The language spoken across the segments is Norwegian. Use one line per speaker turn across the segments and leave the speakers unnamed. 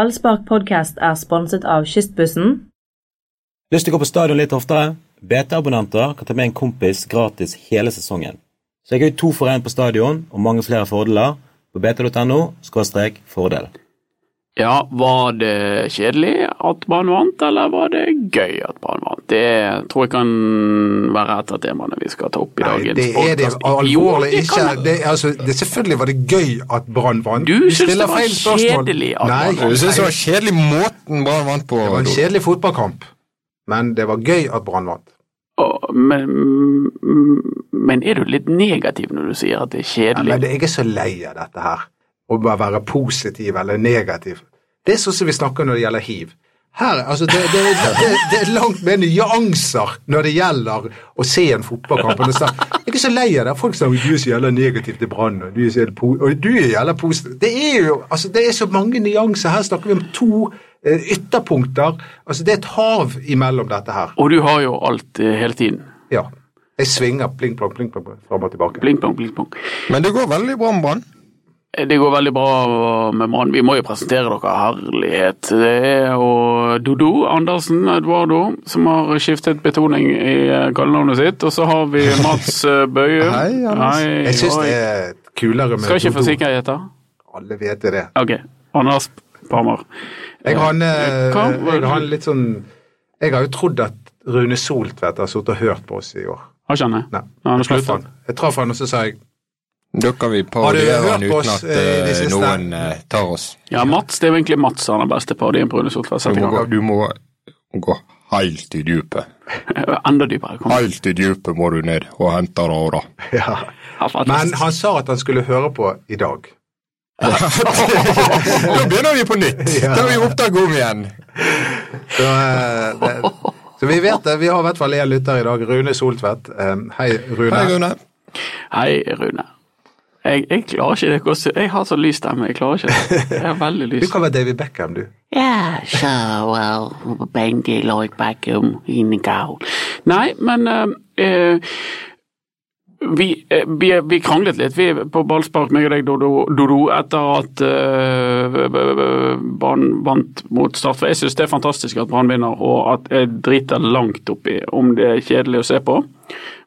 Ballspark podcast er sponset av Kystbussen.
Lyst til å gå på stadion litt oftere? BT-abonnenter kan ta med en kompis gratis hele sesongen. Så jeg har jo to for én på stadion, og mange flere fordeler på bt.no fordel.
Ja, var det kjedelig at Brann vant, eller var det gøy at Brann vant? Det tror jeg kan være et av temaene vi skal ta opp i
Nei,
dagens
det er det
podcast.
alvorlig
Jo, det
ikke.
kan
Det, er altså, det, selvfølgelig var det gøy at Brann vant.
Du
Vi
synes
stiller
det var
feil spørsmål.
kjedelig at
Nei,
Brann vant.
Jeg synes det
nei,
var kjedelig måten Brann vant på.
det var en
Dodo.
kjedelig fotballkamp, men det var gøy at Brann vant.
Å, Men, men er du litt negativ når du sier at det er
Ja,
kjedelig?
men jeg er så lei av dette her, å bare være positiv eller negativ. Det er sånn som vi snakker når det gjelder hiv. Her, altså, det, det, det, det er langt mer nyanser når det gjelder å se en fotballkamp. enn å se- Jeg er så lei av det. Folk sier du er så jævla negativ til Brann, og du er så jævla po- og du er jævla positiv. Det er jo altså, det er så mange nyanser. Her snakker vi om to eh, ytterpunkter. Altså, det er et hav imellom dette her.
Og du har jo alt eh, hele tiden.
Ja. Jeg svinger pling, plong, pling, plong, fram og tilbake.
Blink, blong, blink, blong.
Men det går veldig bra med Brann.
Det går veldig bra med Brann. Vi må jo presentere dere, herlighet. Det er og Dodo Andersen, Eduardo, som har skiftet betoning i eh, kallenavnet sitt. Og så har vi Mats eh, Bøye.
Hei, Anders.
Hei,
Jeg syns
oi.
det er kulere med
Skal ikke
Dodo.
få sikkerheter.
Alle vet det.
Ok. Anders Palmer.
Jeg har, en, eh,
Hva?
jeg har en litt sånn Jeg har jo trodd at Rune Soltvedt har sittet og hørt på oss i år.
Har ikke han det?
Nei.
Han har
Jeg traff
sluttet.
han. Jeg traff han, og så sa jeg
Da kan vi
Har
parodiere
du hørt
han
på
uten
oss,
at
eh, i det
eh,
siste?
noen eh, tar oss.
Ja, Mats. Det er jo egentlig Mats han er beste parodien på Rune Soltvedt.
Du
Sett i
må, gå,
gang.
du må gå helt i dypet.
Enda dypere. Kom.
Helt i dypet må du ned og hente det av, da.
ja. Men han sa at han skulle høre på i dag.
Da begynner vi på nytt! Da er vi opptatt om igjen.
Så, eh, det, så vi vet det. Vi har i hvert fall en lytter i dag. Rune Soltvedt. Eh, Hei, Rune.
Hei, Rune.
Hei, Rune. Jeg, jeg klarer ikke det. Hvordan- Jeg har så lys stemme. Jeg klarer ikke det. Jeg har veldig
Du
lys.
kan være David Beckham, du.
Ja, så uh, well, Bendy Lloyd Beckham in the goal. Nei, men eh, eh, vi, eh, vi, vi kranglet litt vi på ballspark, meg og deg, Dodo, Dodo etter at eh, Brann vant mot Start. For jeg syns det er fantastisk at Brann vinner, og at jeg driter langt oppi om det er kjedelig å se på.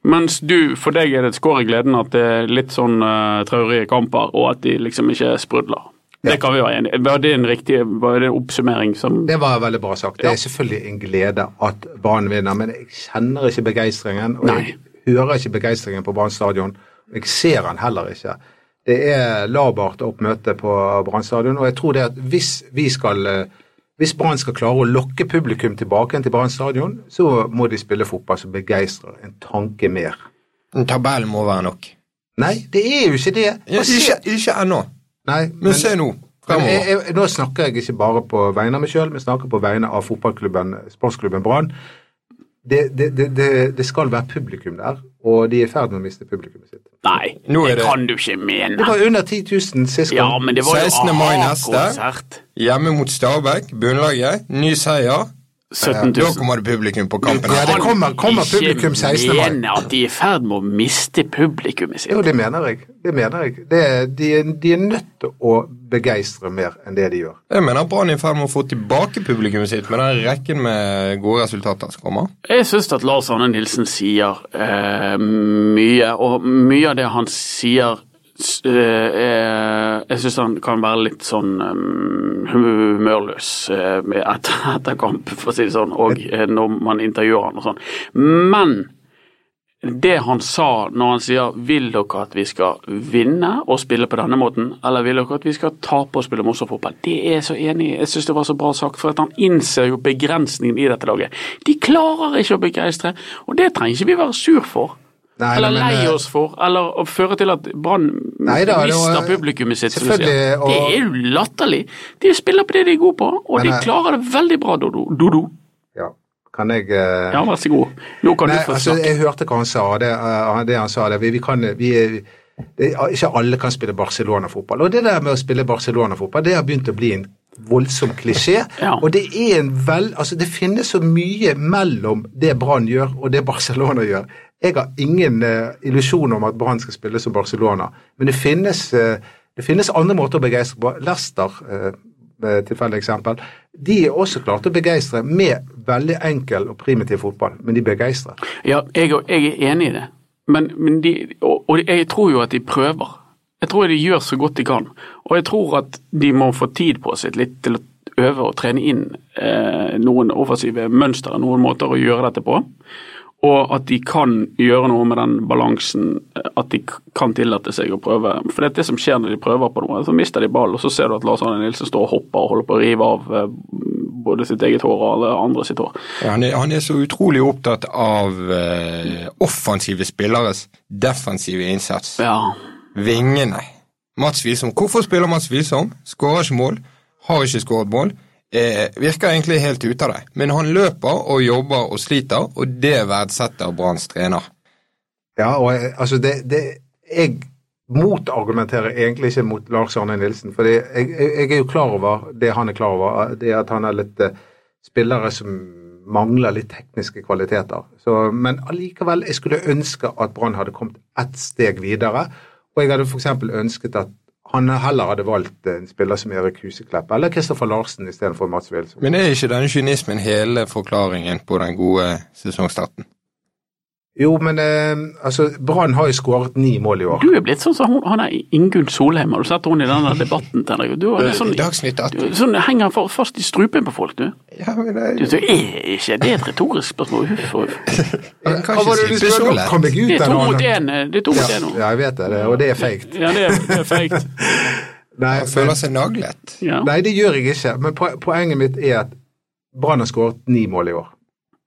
Mens du, for deg er det et skår i gleden at det er litt sånn eh, traurige kamper, og at de liksom ikke sprudler. Det kan vi være enige i. Var det en riktig var det en oppsummering som
Det var veldig bra sagt. Det er selvfølgelig en glede at Brann vinner, men jeg kjenner ikke begeistringen. Og jeg hører ikke begeistringen på Brann stadion. og Jeg ser den heller ikke. Det er labert opp møte på Brann stadion, og jeg tror det at hvis vi skal eh, hvis Brann skal klare å lokke publikum tilbake igjen til Brann stadion, så må de spille fotball som begeistrer en tanke mer.
Tabellen må være nok.
Nei, det er jo ikke det.
Ja,
Og se-
Ikke, ikke ennå,
Nei,
men se nå.
Men jeg,
Fremover.
jeg, nå snakker jeg ikke bare på vegne av meg sjøl, men snakker på vegne av fotballklubben, sportsklubben Brann. Det, det, det, det, det skal være publikum der, og de er i ferd med å miste publikummet sitt.
Nei,
Nå er
det
det-
kan du ikke
Det
mene.
var under 10 000 sist
Ja,
gang.
men det var jo
16. mai neste.
A-konsert.
Hjemme mot Stabæk, bunnlaget. Ny seier.
17
Da
000.
kommer det publikum på kampen.
Ja, det kommer, kommer publikum 16.
Ikke
mai.
mene at de er i ferd med å miste publikummet sitt.
Jo, det mener jeg. Det mener jeg. Det, de, de er nødt til å begeistre mer enn det de gjør.
Jeg mener Brann er i ferd med å få tilbake publikummet sitt med den rekken med gode resultater som kommer.
Jeg syns at Lars Arne Nilsen sier eh, mye, og mye av det han sier s- eh, eh, Jeg syns han kan være litt sånn eh, humørløs eh, med etter, etter kamp, for å si det sånn, og eh, når man intervjuer han og sånn. Men det han sa når han sier 'vil dere at vi skal vinne og spille på denne måten', eller 'vil dere at vi skal tape og spille morsom fotball', det er jeg så enig i. Jeg syns det var så bra sagt, for at han innser jo begrensningen i dette laget. De klarer ikke å begeistre, og det trenger ikke vi være sur for.
Nei,
eller
men,
lei
eh,
oss for, eller å føre til at Brann
Nei da, det var-
mister publikummet sitt. Som du sier.
Selvfølgelig, og-
Det er jo latterlig. De spiller på det de er gode på, og
Men,
de
eh,
klarer det veldig bra, Dodo. Dodo.
Ja. Kan jeg eh,
Ja, vær så god. Nå kan
Nei,
du få
altså,
snakke.
jeg hørte hva han sa. og Det, eh, det han sa, det, vi, vi kan, vi, er- det, er- ikke alle kan spille Barcelona-fotball. Og det der med å spille Barcelona-fotball, det har begynt å bli en voldsom klisjé.
Ja.
Og det er en vel, altså det finnes så mye mellom det Brann gjør og det Barcelona gjør. Jeg har ingen eh, illusjon om at Brann skal spille som Barcelona, men det finnes, eh, det finnes andre måter å begeistre på. Leicester eh, eh, tilfeldig eksempel, de er også klarte å begeistre med veldig enkel og primitiv fotball, men de begeistrer.
Ja, jeg, er- jeg er enig i det. Men, men de, og, og jeg tror jo at de prøver. Jeg tror de gjør så godt de kan. Og jeg tror at de må få tid på seg litt til å øve og trene inn eh, noen offensive mønstre, noen måter å gjøre dette på. Og at de kan gjøre noe med den balansen, eh, at de k- kan tillate seg å prøve. For det er det som skjer når de prøver på noe, så mister de ballen, og så ser du at Lars Arne Nilsen står og hopper og holder på å rive av eh, både sitt eget hår og alle andre sitt hår.
Ja, han, er, han er så utrolig opptatt av eh, offensive spilleres defensive innsats.
Ja,
Vingene. Mats Wisom. Hvorfor spiller Mats Wisom? Skårer ikke mål. Har ikke skåret mål. Eh, virker egentlig helt ute av det. Men han løper og jobber og sliter, og det verdsetter Branns trener.
Ja, og jeg, altså det, det Jeg motargumenterer egentlig ikke mot Lars Arne Nilsen, for jeg, jeg, jeg er jo klar over det han er klar over, det at han er litt eh, spillere som mangler litt tekniske kvaliteter. Så, men allikevel, jeg skulle ønske at Brann hadde kommet ett steg videre. Og jeg hadde f.eks. ønsket at han heller hadde valgt eh, en spiller som Erik Huseklepp eller Kristoffer Larsen istedenfor Mats Wilson.
Men er ikke denne kynismen hele forklaringen på den gode sesongstarten?
Jo, men eh, altså, Brann har jo skåret ni mål i år.
Du er blitt sånn som hun, han er Ingunn Solheim. Har du sett henne i den der debatten? Henrik? Du er sånn, du
Dagsnytt 18.
er sånn henger fa- fast i strupen på folk, du.
Ja, men
Du,
det,
du er ikke Det er et retorisk spørsmål. Huff og huff.
han kan
Hva var
ikke
det du
slippe
spurte
så
om? Kom
lett.
jeg ut
Det er to
eller
mot
noe?
én eh, det er to mot én nå.
Ja, jeg vet det, det, og det er feigt.
Ja, det er, det er feigt.
Nei,
Han føler seg naglet.
Ja.
nei, det gjør jeg ikke. Men po- poenget mitt er at Brann har skåret ni mål i år.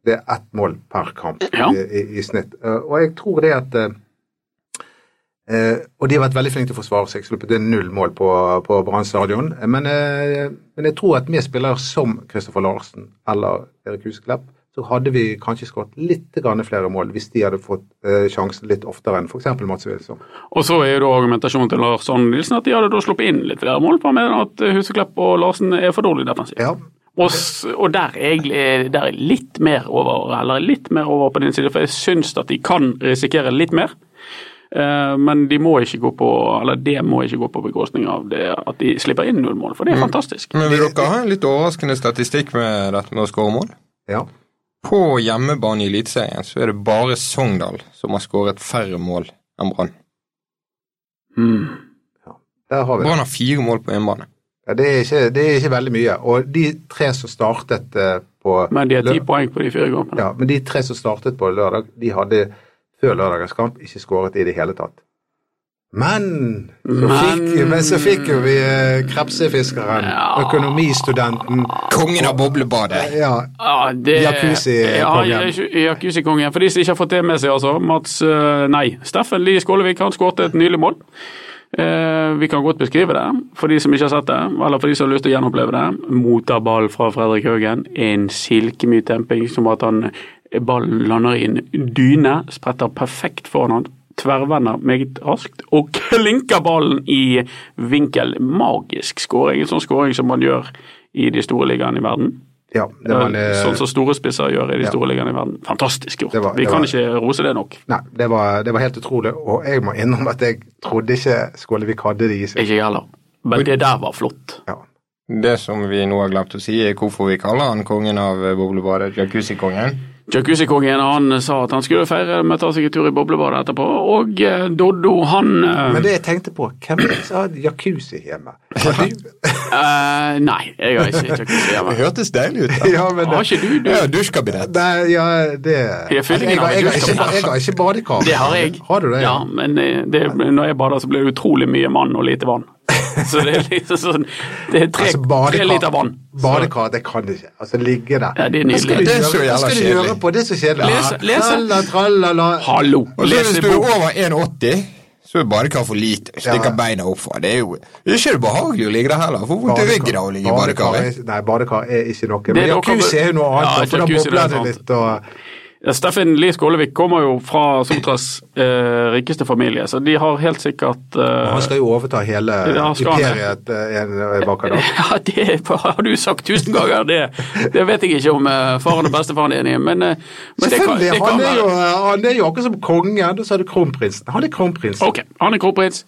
Det er ett mål per kamp
Ja.
i, i, i snitt. Eh, Og jeg tror det at eh, eh, Og de har vært veldig flinke til å forsvare seg, sluppet inn null mål på, på Brann stadion. Eh, Men, eh, men jeg tror at med spillere som Kristoffer Larsen eller Erik Huseklepp, så hadde vi kanskje skåret litt grann flere mål hvis de hadde fått eh, sjansen litt oftere enn f.eks. Mats Wilson.
Og så er jo da argumentasjonen til Lars Arne Nilsen at de hadde da sluppet inn litt flere mål, på med at Huseklepp og Larsen er for dårlig defensivt.
Ja,
Og, s- og der, er jeg, eh, der er jeg litt mer over eller litt mer over på din side, for jeg syns at de kan risikere litt mer. Eh, Men de må ikke gå på, eller det må ikke gå på bekostning av det at de slipper inn null mål, for det er fantastisk.
Men vil dere ha en litt overraskende statistikk med dette med å skåre mål?
ja.
På hjemmebane i Eliteserien så er det bare Sogndal som har skåret færre mål enn Brann.
Mm.
Der har vi det.
Brann har fire mål på hjemmebane.
Ja, det, er ikke, det er ikke veldig mye. Og de tre som startet eh, på
Men de har ti
lø-
poeng på de fire kampene.
ja, men de tre som startet på lørdag, de hadde før lørdagens kamp ikke skåret i det hele tatt. Men så fikk,
Men-
men så fikk jo vi eh, krepsefiskeren,
Ja.
økonomistudenten
Kongen av boblebadet!
ja,
Ja, det-
Jacuzzi-kongen.
Ja, ja, Jacuzzi-kongen. For de som ikke har fått det med seg, altså. Mats, eh, nei. Steffen Lie Skålevik han skåret et nylig mål. Eh, vi kan godt beskrive det, for de som ikke har sett det. Eller for de som har lyst til å gjenoppleve det. Mottar ball fra Fredrik Haugen. En silkemyk temping som at han ballen lander i en dyne. Spretter perfekt foran han. Tverrvender meget raskt og klinker ballen i vinkel. Magisk skåring. En sånn skåring som man gjør i de store ligaene i verden.
ja, det var en, eh,
Sånn som store spisser gjør i de
ja.
store ligaene i verden. Fantastisk gjort.
Det var-
Vi
det
kan
var-
ikke rose det nok.
eh, Nei, det var, det var helt utrolig. Og jeg må innrømme at jeg trodde ikke Skålevik hadde det i seg.
Ikke jeg heller. Men det der var flott.
Ja.
Det som vi nå har glemt å si, er hvorfor vi kaller han kongen av boblebadet, jacuzzi-kongen.
Jacuzzi-kongen han sa at han skulle feire med å ta seg en tur i boblebadet etterpå, og eh, Doddo han eh,
Men det jeg tenkte på, hvem er det som har jacuzzi hjemme? Har du-
eh, Nei, jeg har ikke jacuzzi hjemme.
hørtes deilig ut.
Ja, men det-
Har ikke du, du?
Ja, dusjkabinett.
Nei, ja, det
Jeg føler
jeg,
ingen
har-
har
jeg, har
lyst til
ikke,
å bade.
jeg har ikke badekar.
Det har jeg.
Har du det?
Ja, men eh, det, når jeg bader så blir det utrolig mye mann og lite vann. Så det er liksom sånn Det er tre,
Altså,
tre liter vann.
Badekar, det kan jeg ikke. Altså, ligge der.
Ja, det er
Hva skal du
nydelig. Det er så
gjøre- Hva
jævla
skal du
kjedelig.
gjøre på? Det er så kjedelig. Ah,
Lese- lese.
Tralla, trallala.
Hallo!
Og så hvis
Lese
du er
bok.
over 1,80, så er badekar for lite. Stikker
Ja.
beina opp fra. Det er jo det er ikke det behagelig å ligge der heller. Får vondt i ryggen av å ligge i badekaret.
er- Nei, badekar er ikke noe.
er
Men
noe-
jacuzzi er jo noe annet,
Ja,
da, for da
jacuzzi er
bobler
noe
det
annet.
litt og
Ja, Steffen Lie Skålevik kommer jo fra Sotras eh, rikeste familie, så de har helt sikkert eh,
Han skal jo overta hele
Ja, skal han det?
imperiet eh, en en vakker dag.
Ja, det har du sagt tusen ganger, det, det vet jeg ikke om eh, faren og bestefaren er enig i, men, eh, men det kan,
Selvfølgelig!
det kan
Han er,
være.
jo, eh, han er jo akkurat som kongen, og så er det kronprinsen. Han er kronprinsen.
Ok, han er kronprins,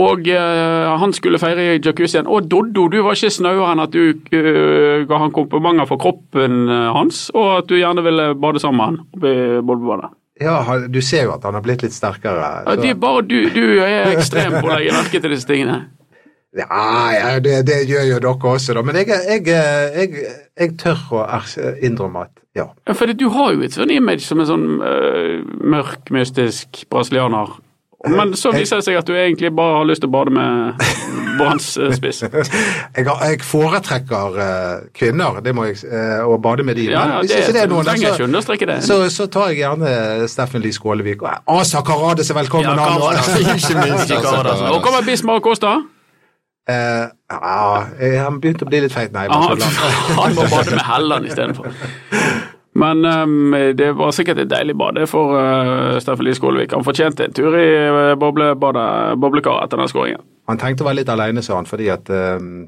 og eh, han skulle feire i jacuzzien. Og Doddo, du var ikke snauere enn at du eh, ga han komplimenter for kroppen eh, hans, og at du gjerne ville bade sammen med han. oppe i Bolbebadet.
Ja, han, du ser jo at han har blitt litt sterkere.
Ja,
så-
det er bare du, du er ekstrem på å legge merke til disse tingene.
Ja, ja det, det gjør jo dere også, da. Men jeg, jeg, jeg, jeg tør å ers- innrømme at ja.
Ja, for du har jo et sånn image som en sånn eh, mørk, mystisk brasilianer. Men så viser det seg at du egentlig bare har lyst til å bade med brannspiss.
Jeg, har- jeg foretrekker eh, kvinner, det må jeg, s- eh, å bade med de.
Ja, ja,
Men hvis
det, du
ikke det er noen,
trenger
da,
ikke understreke det.
så, så, så tar jeg gjerne Steffen Lie Skålevik. Og Asa Karadis er
Ja,
velkommen, han
Karadis.
også.
Ikke minst.
Ikke
altså,
Karadis. Og kommer Bismarck Aasta?
Eh, ja, eh, han begynte å bli litt feit, nei. bare
Han,
tuller.
han må bade med Helland istedenfor. Men ehm, det var sikkert et deilig bade for uh, Steffen Lie Skålevik. Han fortjente en tur i eh, boblebadet- boblekaret etter den skåringen.
Han tenkte å være litt alene, sa han, fordi at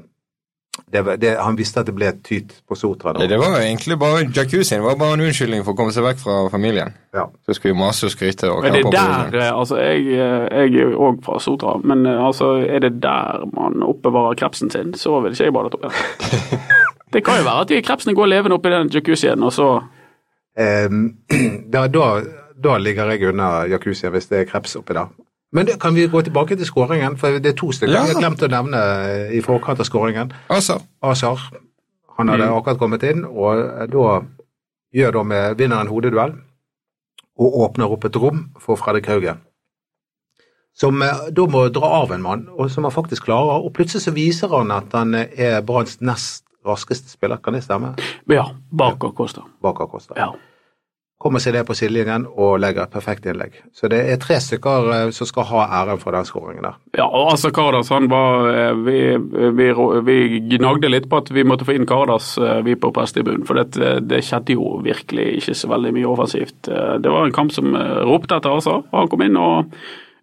eh, det, var- det, han visste at det ble et tyt på Sotra.
Det
nå.
var jo egentlig bare jacuzzien var bare en unnskyldning for å komme seg vekk fra familien.
Ja.
Så skulle vi mase og skryte. og
Er det
klappe på
der
familien.
eh, Altså, jeg, eh, jeg er jo òg fra Sotra, men eh, altså, er det der man oppbevarer krepsen sin, så vil ikke jeg bade, tror jeg. Det kan jo være at de krepsene går levende oppi den jacuzzien, og så
Ehm, da, da, da ligger jeg unna jacuzzien hvis det er kreps oppi der. Men det, kan vi gå tilbake til skåringen? For det er to stykker
Ja.
jeg har glemt å nevne eh, i forkant av skåringen.
Altså,
Azar, han hadde akkurat kommet inn, og eh, da gjør da med vinner en hodeduell og åpner opp et rom for Fredrik Haugen. Som eh, da må dra av en mann, og som han faktisk klarer. Og plutselig så viser han at han eh, er Branns nest raskeste spiller, kan det stemme?
Ja, bak og koster.
Bak Akosta
Ja.
kommer seg ned på sidelinjen og legger et perfekt innlegg. Så det er tre stykker eh, som skal ha æren for den skåringen der.
Ja, og altså Kardas, han var eh, vi, vi, vi gnagde litt på at vi måtte få inn Kardas, eh, vi på prestebunnen. For det, det skjedde jo virkelig ikke så veldig mye offensivt. Eh, Det var en kamp som eh, ropte etter altså, og han kom inn og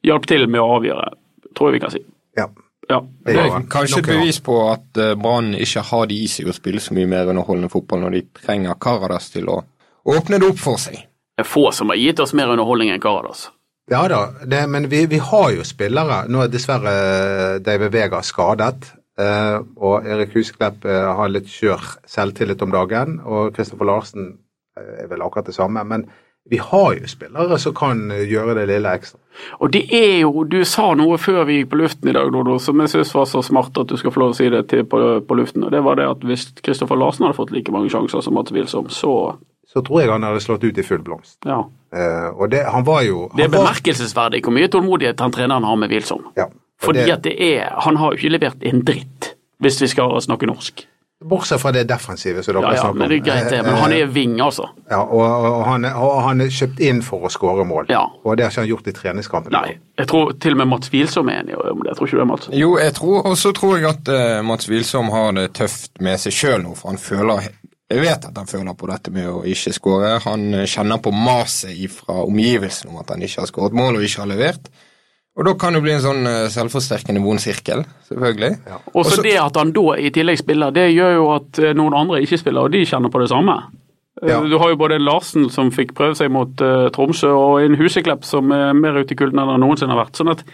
hjalp til med å avgjøre, tror jeg vi kan si.
Ja.
Ja.
Det
det
gjør
er
han. Nok
kanskje et
en gang.
bevis på at eh, Brann ikke har det i seg å spille så mye mer underholdende fotball når de trenger Karadas til å åpne det opp for seg.
Det er få som har gitt oss mer underholdning enn Karadas.
Ja da, det, men vi, vi har jo spillere. Nå er dessverre eh, David Vega skadet. eh, og Erik Husklepp eh, har litt skjør selvtillit om dagen. Og Kristoffer Larsen eh, er vel akkurat det samme. Men vi har jo spillere som kan eh, gjøre det lille ekstra.
Og det er jo, du sa noe før vi gikk på luften i dag, Dodo, som jeg synes var så smart at du skal få lov å si det til på, på luften. Og det var det at hvis Kristoffer Larsen hadde fått like mange sjanser som Mats Wilsom, så
Så tror jeg han hadde slått ut i full blomst.
ja.
Eh, og det, han var jo
Det er
han var-
bemerkelsesverdig hvor mye tålmodighet han treneren har med Wilsom.
Ja, og
Fordi
det-
at det er Han har jo ikke levert en dritt, hvis vi skal snakke norsk.
Bortsett fra det defensive som dere
Ja, ja,
snakker om. Eh,
men det er greit det. Men han er ving, altså.
Ja, og, og, han, og han er kjøpt inn for å skåre mål.
Ja.
Og det har ikke han gjort i treningskampen.
Nei. Jeg tror til og med Mats Wilsom er enig om det. Jeg tror ikke du det, Mats?
Jo, jeg tror, og så tror jeg at eh, Mats Wilsom har det tøft med seg sjøl nå, for han føler Jeg vet at han føler på dette med å ikke skåre. Han eh, kjenner på maset fra omgivelsene om at han ikke har skåret mål og ikke har levert. Og da kan det bli en sånn eh, selvforsterkende vond sirkel, selvfølgelig.
Og så det at han da i tillegg spiller, det gjør jo at eh, noen andre ikke spiller, og de kjenner på det samme. Eh,
Ja.
Du har jo både Larsen som fikk prøve seg mot eh, Tromsø, og en Huseklepp som er mer ute i kulden enn han noensinne har vært. Sånn at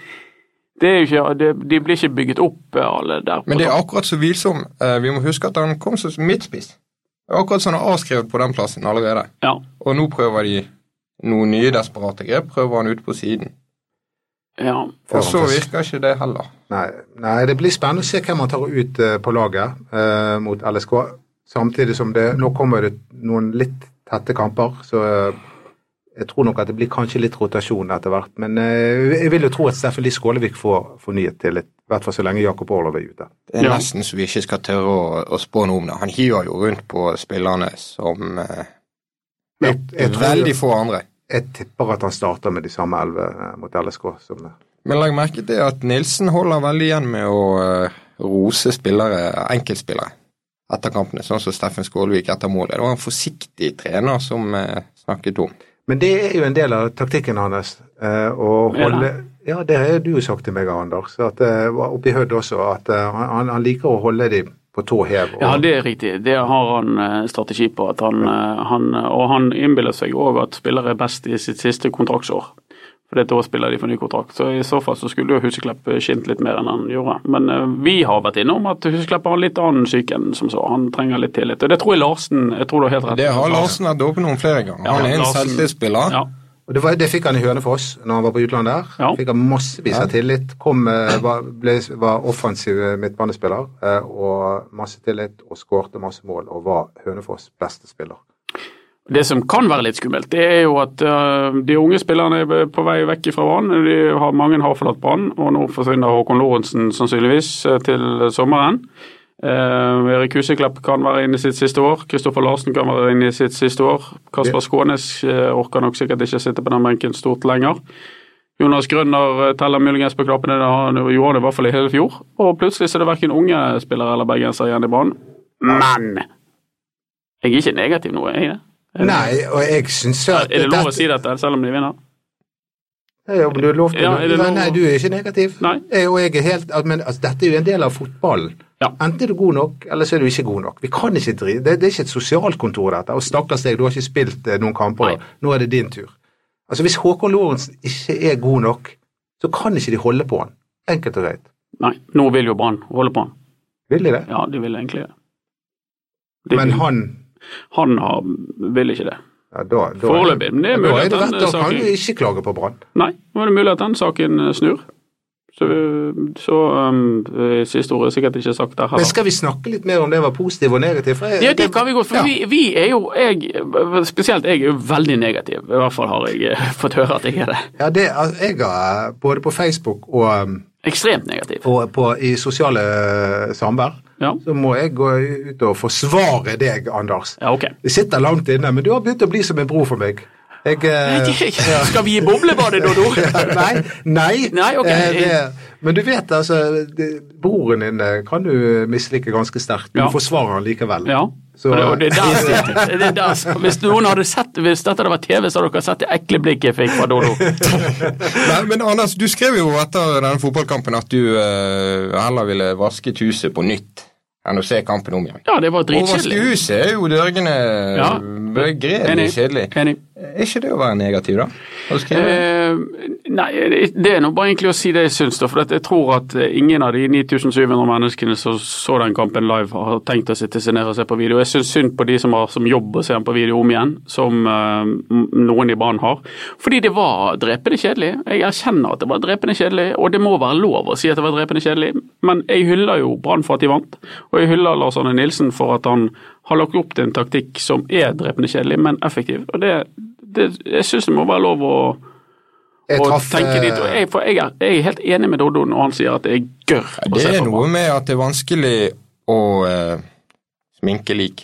det er jo ikke, det, de blir ikke bygget opp, eh, alle der. på
Men det er
topp.
akkurat så Wilsom. eh, Vi må huske at han kom som midtspiss. Det er akkurat som han er avskrevet på den plassen allerede.
ja.
Og nå prøver de noen nye desperate grep. Prøver han ut på siden.
ja.
Og så virker ikke det heller.
Nei, nei, det blir spennende å se hvem han tar ut eh, på laget eh, mot LSK. Samtidig som det Nå kommer det noen litt tette kamper, så eh, jeg tror nok at det blir kanskje litt rotasjon etter hvert. Men eh, jeg vil jo tro at Steffen Lie Skålevik får fornyet tillit, i hvert fall så lenge Jakob Orlov er ute.
Det er
Ja.
nesten så vi ikke skal tørre å, å spå noe om det. Han hiver jo rundt på spillerne som eh,
Jeg, jeg, tror,
veldig få andre.
jeg tipper at han starter med de samme elleve eh, mot LSK. som...
Men legg merke til at Nilsen holder veldig igjen med å eh, rose spillere, enkeltspillere etter kampene, sånn som Steffen Skålvik etter målet. Det var en forsiktig trener som eh, snakket om.
Men det er jo en del av taktikken hans. eh, å
Ja da.
holde, ja, det har du jo sagt til meg, Anders, at, eh, oppi Hødd også, at eh, han, han liker å holde dem på tå hev. og-
Ja, det er riktig. Det har han eh, strategi på. At han, eh, han, og han innbiller seg òg at spillere er best i sitt siste kontraktsår. For da spiller de for ny kontrakt. Så i så fall så skulle jo Huseklepp skint litt mer enn han gjorde. Men eh, vi har vært innom at Huseklepp har en litt annen syke enn som så. Han trenger litt tillit. Og det tror jeg Larsen jeg tror du har helt rett.
Det har Larsen vært åpen om flere ganger.
Ja,
Han er en
Larsen-
selvtillitsspiller.
Ja.
Og det, var, det fikk han i Hønefoss når han var på utlandet der.
Ja.
Fikk han massevis av tillit. Kom, eh, var, ble, var offensiv midtbanespiller eh, og masse tillit og skårte masse mål og var Hønefoss' beste spiller.
Det som kan være litt skummelt, det er jo at øh, de unge spillerne er på vei vekk fra Brann. De har- Mange har forlatt Brann, og nå forsvinner Håkon Lorentzen sannsynligvis øh, til sommeren. Eh, Erik Huseklepp kan være inne i sitt siste år. Kristoffer Larsen kan være inne i sitt siste år. Kasper Skånes eh, orker nok sikkert ikke sitte på den benken stort lenger. Jonas Grønner eh, teller muligens på knappene, det har han jo- gjorde han i hvert fall i hele fjor. Og plutselig så er det verken unge spillere eller bergensere igjen i Brann. Men jeg er ikke negativ nå, er jeg det?
Nei, og jeg syns at
Er det lov å si dette, selv om de vinner?
Nei, ja, men du er lov til
Ja, er det
nei,
lov å-
nei, du er ikke negativ.
Nei.
Jeg, og jeg er helt, al- men altså, dette er jo en del av fotballen.
Ja.
Enten er du god nok, eller så er du ikke god nok. Vi kan ikke drive, det, det er ikke et sosialkontor, dette. Og stakkars deg, du har ikke spilt eh, noen kamper.
Nei.
Nå er det din tur. Altså, Hvis Håkon Lorentzen ikke er god nok, så kan ikke de holde på han. Enkelt og greit.
Nei, nå vil jo Brann holde på han.
Vil de det?
Ja, de vil egentlig det. De
Men
vil-
han
han har, vil ikke det.
ja, da, da,
Foreløpig. Men det er
Da
mulig
er
at eh,
det rett,
den
da kan du
saken
ikke klage på Brann.
Nei, nå er det mulig at den saken eh, snur. Så, vi- så um, eh, siste ordet er sikkert ikke sagt der
Men
heller.
skal vi snakke litt mer om det var positivt og negativt? For jeg-
Ja, det kan vi godt, for
Ja.
vi, vi er jo jeg, Spesielt jeg er jo veldig negativ, i hvert fall har jeg eh, fått høre at jeg er det.
Ja, det, altså, jeg har både på Facebook og um,
Ekstremt negativ.
på, på, i sosiale eh, samvær,
Ja,
så må jeg gå ut og forsvare deg, Anders.
ja ok.
Det sitter langt inne, men du har begynt å bli som en bror for meg. Jeg, eh,
Skal vi gi boblebadet, Dodo?
nei, nei.
Nei, ok.
eh, det, men du vet, altså, det, broren din eh, kan du mislike ganske sterkt. Du
Ja.
forsvarer han likevel.
Ja.
Så-
og det, og det er der, det er der, hvis noen hadde sett, hvis dette hadde vært TV, så hadde dere sett det ekle blikket jeg fikk fra Dodo.
Nei, men Anders, du skrev jo etter denne fotballkampen at du eh, heller ville vasket huset på nytt enn å se kampen om igjen.
Ja, det var
Å vaske
dritkjedelig.
huset er jo dørgende ja.
Ja.
begredelig
Enig.
kjedelig.
Enig.
Er ikke det å være negativ, da? Å skrive?
Eh, nei, det er nå bare egentlig å si det jeg syns, da. For at jeg tror at eh, ingen av de 9700 menneskene som så den kampen live, har tenkt å sitte seg ned og se på video. Jeg syns synd på de som har som jobb å se den på video om igjen, som eh, m- noen i Brann har. Fordi det var drepende kjedelig. Jeg erkjenner at det var drepende kjedelig, og det må være lov å si at det var drepende kjedelig. Men jeg hyller jo Brann for at de vant, og jeg hyller Lars Arne Nilsen for at han har lagt opp til en taktikk som er drepende kjedelig, men effektiv. Og det, det, jeg syns det må være lov å
eh, Jeg
og
traff,
tenke litt, og
eh,
jeg, for jeg, er, jeg er helt enig med Doddo når han sier at det er gørr å
Det
Eh, se
er
på.
noe med at det er vanskelig å eh, sminke lik.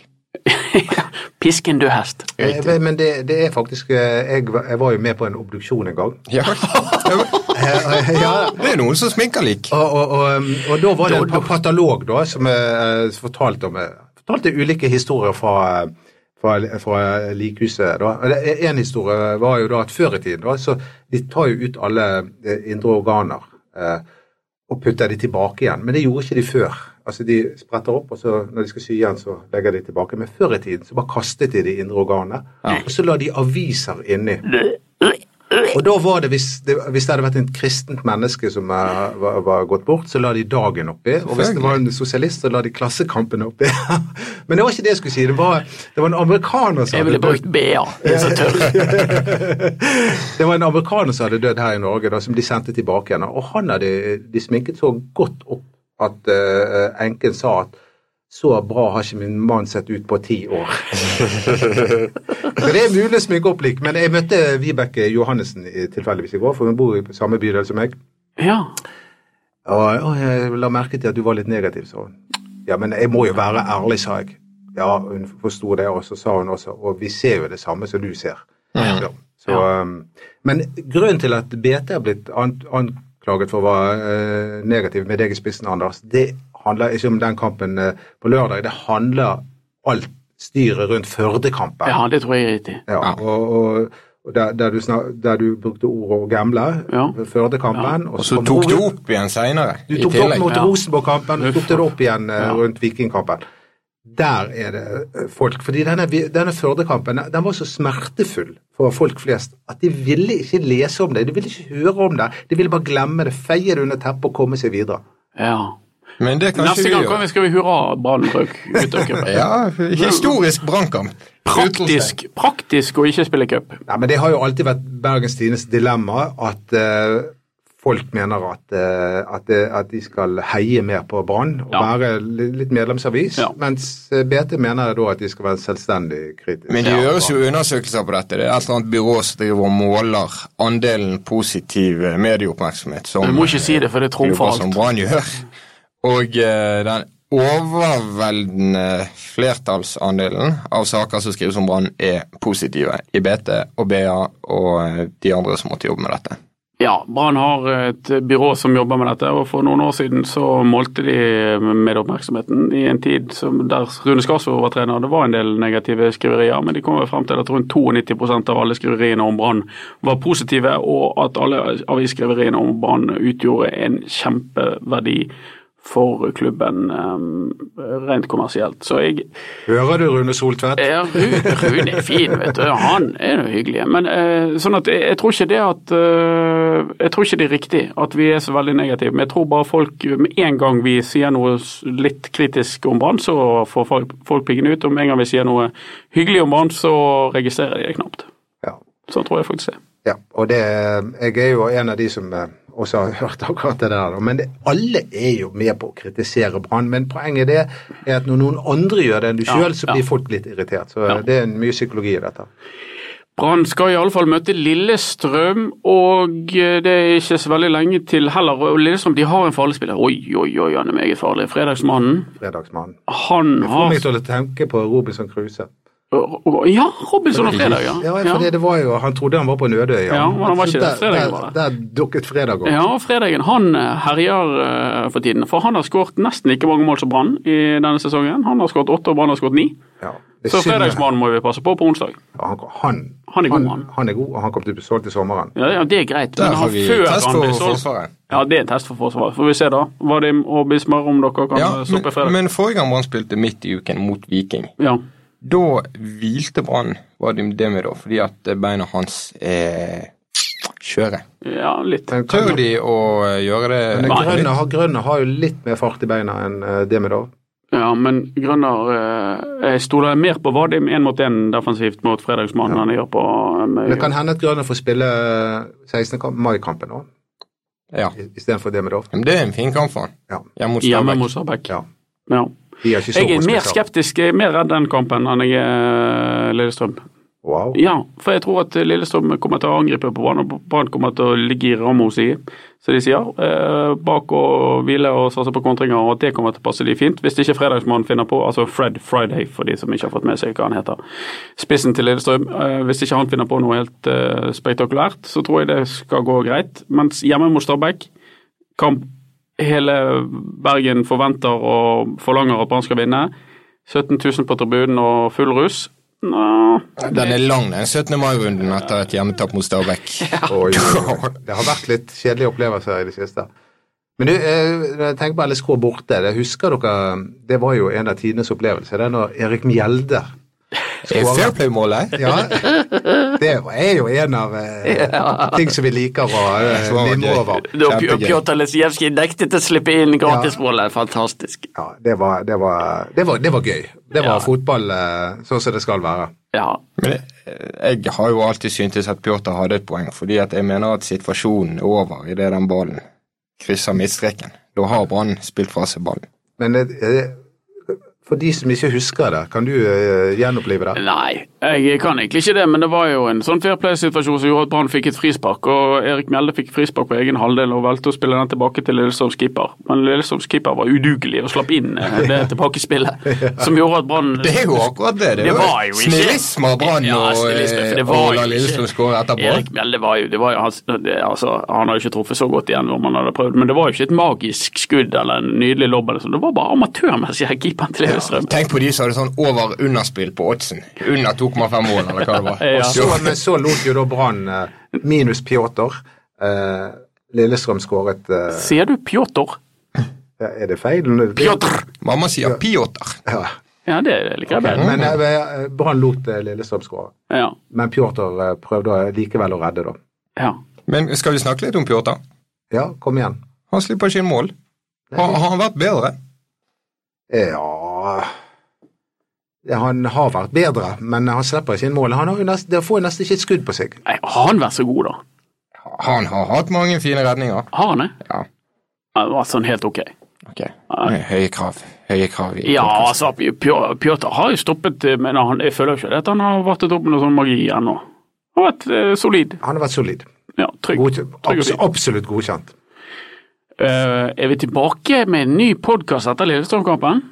Pisken du hest.
eh, men- men det, det er faktisk eh, jeg, var- jeg var jo med på en obduksjon en gang.
Ja. det
Eh, ja,
er noen som sminker lik.
Og, og, og, um, og da var det en pa- patolog da, som eh, fortalte, om, eh, fortalte ulike historier fra, eh, fra, fra likhuset. Da. Og det- En historie var jo da at før i tiden da, så de tar jo ut alle eh, indre organer eh, og putter de tilbake igjen. Men det gjorde ikke de før. Altså De spretter opp, og så når de skal sy igjen, så legger de tilbake. Men før i tiden så bare kastet de de indre organene, og så la de aviser inni. Og da var det, hvis det, hvis det hadde vært en kristent menneske som eh, var, var gått bort, så la de dagen oppi. Og hvis det var en sosialist, så la de klassekampen oppi. Men det var ikke det jeg skulle si. Det var, det var en amerikaner som
Jeg ville
hadde
brukt
dødd.
BA. Det er så tørr.
Det var en amerikaner som hadde dødd her i Norge, da, som de sendte tilbake igjen. Og han hadde de sminket så godt opp at eh, enken sa at så bra har ikke min mann sett ut på ti år. så det er mulig å sminke opp lik, men jeg møtte Vibeke Johannessen i- tilfeldigvis i går, for hun bor i samme bydel som meg.
Ja.
Og «Å, jeg la merke til at du var litt negativ, sa hun. Ja, men jeg må jo være ærlig, sa jeg. Ja, hun forsto det, og så sa hun også, og vi ser jo det samme som du ser. Ja. Så, um, men grunnen til at BT har blitt an anklaget for å være eh, negativ med deg i spissen, Anders, det handler ikke om den kampen eh, på lørdag, det handler alt styret rundt Førdekampen.
Ja, det tror jeg er riktig.
Ja, og, og, og der, der, du snak, der du brukte ordet å gamble,
Ja.
Førdekampen
Og så tok du opp igjen seinere.
Du tok det opp mot
ja.
Rosenborg-kampen, og
Uff.
tok det opp igjen eh,
Ja.
rundt Vikingkampen. Der er det eh, folk Fordi denne, vi- denne Førde-kampen den var så smertefull for folk flest at de ville ikke lese om det, de ville ikke høre om det, de ville bare glemme det, feie det under teppet og komme seg videre.
Ja.
Men det kan
Neste
ikke vi
gang kan vi-
gjøre.
skal vi hurra Brannbrøk ut av cupen.
Ja, historisk brannkamp.
Praktisk, praktisk å ikke spille cup.
Nei, men Det har jo alltid vært Bergens Tines dilemma at eh, folk mener at, eh, at, det- at de skal heie mer på Brann og
Ja.
være li- litt medlemsavis,
Ja.
mens eh, BT mener da at de skal være selvstendig kritiske.
Men det gjøres jo undersøkelser på dette. Det er et eller annet byrå som driver og måler andelen positiv eh, medieoppmerksomhet som
Men Du må ikke si det, for det trumfer
klubber som
alt.
Brann gjør. Og eh, den overveldende flertallsandelen av saker som skrives om Brann, er positive i BT og BA og eh, de andre som måtte jobbe med dette.
Ja, Brann har et byrå som jobber med dette, og for noen år siden så målte de medieoppmerksomheten i en tid som der Rune Skarsvåg var trener. Det var en del negative skriverier, men de kom vel frem til at rundt 92 av alle skriveriene om Brann var positive, og at alle avisskriveriene om Brann utgjorde en kjempeverdi for klubben eh, rent kommersielt. Så jeg,
Hører du, Rune Soltvedt?
Ja, Ru- Rune er fin, vet du. Han er noe hyggelig. Men eh, sånn at jeg, jeg tror ikke det at eh, Jeg tror ikke det er riktig at vi er så veldig negative. Men jeg tror bare folk Med en gang vi sier noe s- litt kritisk om Brann, så får folk, folk piggene ut. Og med en gang vi sier noe hyggelig om Brann, så registrerer de det knapt.
Ja.
Sånn tror jeg faktisk det er.
Ja, og det, jeg er jo en av de som eh, også har hørt akkurat det der, da. men det, alle er jo med på å kritisere Brann. Men poenget det er at når noen andre gjør det enn du
Ja,
sjøl, så
ja.
blir folk litt irritert. Så eh,
Ja.
det er mye psykologi i dette.
Brann skal iallfall møte Lillestrøm, og eh, det er ikke så veldig lenge til heller. Og Lillestrøm de har en farlig spiller. Oi, oi, oi, han er meget farlig. Fredagsmannen.
Fredagsmannen.
Han
Det får
har
meg til å tenke på Robinson Crusoe.
Ja, Robinson og Fredag, ja.
Ja, for det var jo, Han trodde han var på Nødøy.
Ja, men han var ikke
Så
det.
der-
Fredag var
der,
det.
der dukket fredag opp.
Ja, og Fredagen han eh, herjer eh, for tiden. For han har skåret nesten like mange mål som Brann i denne sesongen. Han har skåret åtte, og Brann har skåret ni.
Ja. Det er
Så
synd-
Fredagsmannen må vi passe på på onsdag.
Ja, Han, han,
Han er god, han.
han er god, og han kom til å bli solgt i sommeren.
Ja, ja, det er greit.
Der
Men
har
han
vi
før
test
han
for
blir solgt
Forsvaret.
Ja, det er en test for Forsvaret. Får vi se da. Vadim og Bismar, om dere kan
Ja,
eh, stoppe
men,
Fredag.
men forrige gang Brann spilte midt i uken mot Viking,
Ja.
Da hvilte Brann Vadim Demidov fordi at eh, beina hans eh, er skjøre.
ja, litt.
Men
Tør
kan-
de å eh, gjøre det?
Men
Nei.
Grønne, har- grønne har jo litt mer fart i beina enn eh, Demidov.
Ja, men Grønner eh, Jeg stoler mer på Vadim én mot én defensivt mot Fredagsmannen enn jeg gjør på eh,
Det kan hende at Grønne får spille 16. kamp- mai-kampen nå,
Ja.
i- istedenfor Demidov.
Men det er en fin kamp for han.
Ja.
Hjemme mot
hjemme
Stabæk.
mot Stabæk.
Ja.
Ja.
De har ikke så
Jeg er
god
mer
spesial.
skeptisk, jeg er mer redd den kampen enn jeg er Lillestrøm.
Wow.
Ja, for jeg tror at eh, Lillestrøm kommer til å angripe på banen, og Brann kommer til å ligge i ramma si, som de sier, eh, bak og hvile og satse på kontringer, og at det kommer til å passe de fint. Hvis ikke Fredagsmannen finner på, altså Fred Friday, for de som ikke har fått med seg hva han heter, spissen til Lillestrøm, eh, hvis ikke han finner på noe helt eh, spektakulært, så tror jeg det skal gå greit. Mens hjemme mot Stabæk, kamp hele Bergen forventer og forlanger at Brann skal vinne. 17 000 på tribunen og full russ. Nå,
Den er lang, den 17. mai-runden etter et hjemmetap mot Stabæk.
Oi, oi, oi. det har vært litt kjedelige opplevelser i det siste. Men du, eh, tenk på LSK borte. Det husker dere, det var jo en av tidenes opplevelser. Det er når Erik Mjelde
Er Fairplay-målet?
Ja, det er jo en av eh, ting som vi liker å eh,
Det var gøy.
nimre over.
Da Pj-
Kjempegøy.
Pjotr Lesijevskij nektet å slippe inn gratismålet. Fantastisk.
Ja, det var, det var, det var, det var gøy. Det var
Ja.
fotball eh, sånn som det skal være.
Ja.
Men jeg har jo alltid syntes at Pjotr hadde et poeng, fordi at jeg mener at situasjonen er over idet den ballen krysser midtstreken. Da har Brann spilt fra seg ballen.
Men eh, for de som ikke husker det, kan du eh, gjenopplive det?
Nei, jeg kan egentlig ikke det, men det var jo en sånn fair play-situasjon som gjorde at Brann fikk et frispark, og Erik Mjelde fikk frispark på egen halvdel og valgte å spille den tilbake til Lillestrøms keeper. Men Lillestrøms keeper var udugelig og slapp inn eh, det tilbakespillet, som gjorde at Brann
Det er jo akkurat det. Det,
Det
er
var jo
jo
ikke-
snillisme av Brann
Ja,
og,
snillisme, for det
eh,
var
og
jo
la
ikke-
Lillestrøm skåre etter Brann.
Erik Mjelde var jo, det var jo hans, det, altså, Han hadde ikke truffet så godt igjen om han hadde prøvd, men det var jo ikke et magisk skudd eller en nydelig lobb. eller sånn. Det var bare amatørmessig av keeperen til Hellstrøm.
Tenk på de som hadde sånn over-underspill på oddsen. Under 2,5 mål, eller hva det var.
Ja.
Og
Så,
så-
men så lot jo da Brann eh, minus Pjotr. Eh, Lillestrøm skåret eh,
Sier du Pjotr?
Er det feil?
Pjotr!
Mamma sier Piotr.
Ja.
Ja, det liker jeg bedre.
Men eh, Brann lot eh, Lillestrøm skåre.
Ja.
Men Pjotr eh, prøvde likevel å redde, da.
ja.
Men skal vi snakke litt om Piotr?
Ja, kom igjen.
Han slipper ikke inn mål. Har, har han vært bedre?
Ja Ja, Han har vært bedre, men han slipper ikke inn mål. Han har jo nest, det får jo nesten ikke et skudd på seg.
Nei, har han vært så god, da?
Han har hatt mange fine redninger.
Har han det?
Ja,
Han har vært sånn helt ok.
ok. Høye krav. Høye krav. i
Ja,
podcast.
altså, Pj- Pj- Pjotr har jo stoppet, eh, men han, jeg føler jo ikke at han har vartet opp med noe sånn magi ennå. Han har vært eh, solid.
Han har vært solid.
Ja, trygg.
God,
trygg og
abs
fin.
absolutt godkjent.
Eh, er vi tilbake med en ny podkast etter Lillestrøm-kampen?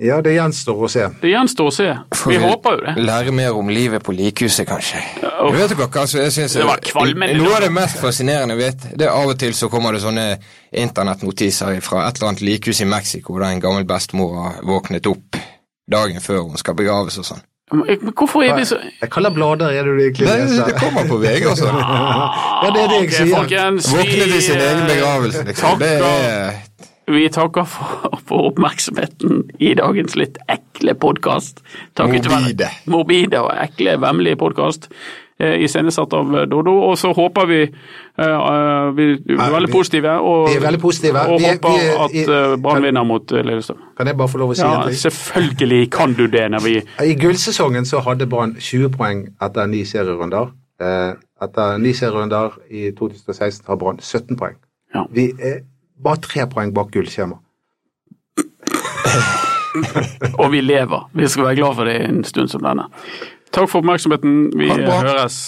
Ja, det gjenstår å se.
Det gjenstår å se.
Får
Vi håper jo det.
Lære mer om livet på likhuset, kanskje.
uff.
Vet dere hva, altså, jeg synes,
Det var kvalmende.
Noe av det mest fascinerende jeg vet, det er av og til så kommer det sånne internettnotiser fra et eller annet likhus i Mexico der en gammel bestemor har våknet opp dagen før hun skal begraves og sånn.
Men hvorfor er vi så
Hvilke blader er det du egentlig
Det,
leser?
det kommer på VG, altså.
Ja, det er det jeg
Ah, Ok,
sier.
folkens,
Våkne til sin egen
eh,
begravelse, liksom. Det er
Vi takker for, for oppmerksomheten i dagens litt ekle podkast.
Morbide.
Morbide og ekle, vemmelige podkast. Iscenesatt av eh, Dodo. Og så håper vi eh, eh, Vi vi er veldig
vi-
positive. Og,
vi er veldig positive.
Og
Vi er-
håper
vi er-
at eh, Brann vinner mot eh, Lillestrøm.
Kan jeg bare få lov å si
Ja,
en ting?
selvfølgelig kan du det når vi
I gullsesongen så hadde Brann 20 poeng etter ni serierunder. Eh, etter ni serierunder i 2016 har Brann 17 poeng.
Ja.
Vi er bare tre poeng bak gullskjema.
Og vi lever. Vi skal være glad for det en stund som denne. Takk for oppmerksomheten. Vi
Ha det bra.
høres.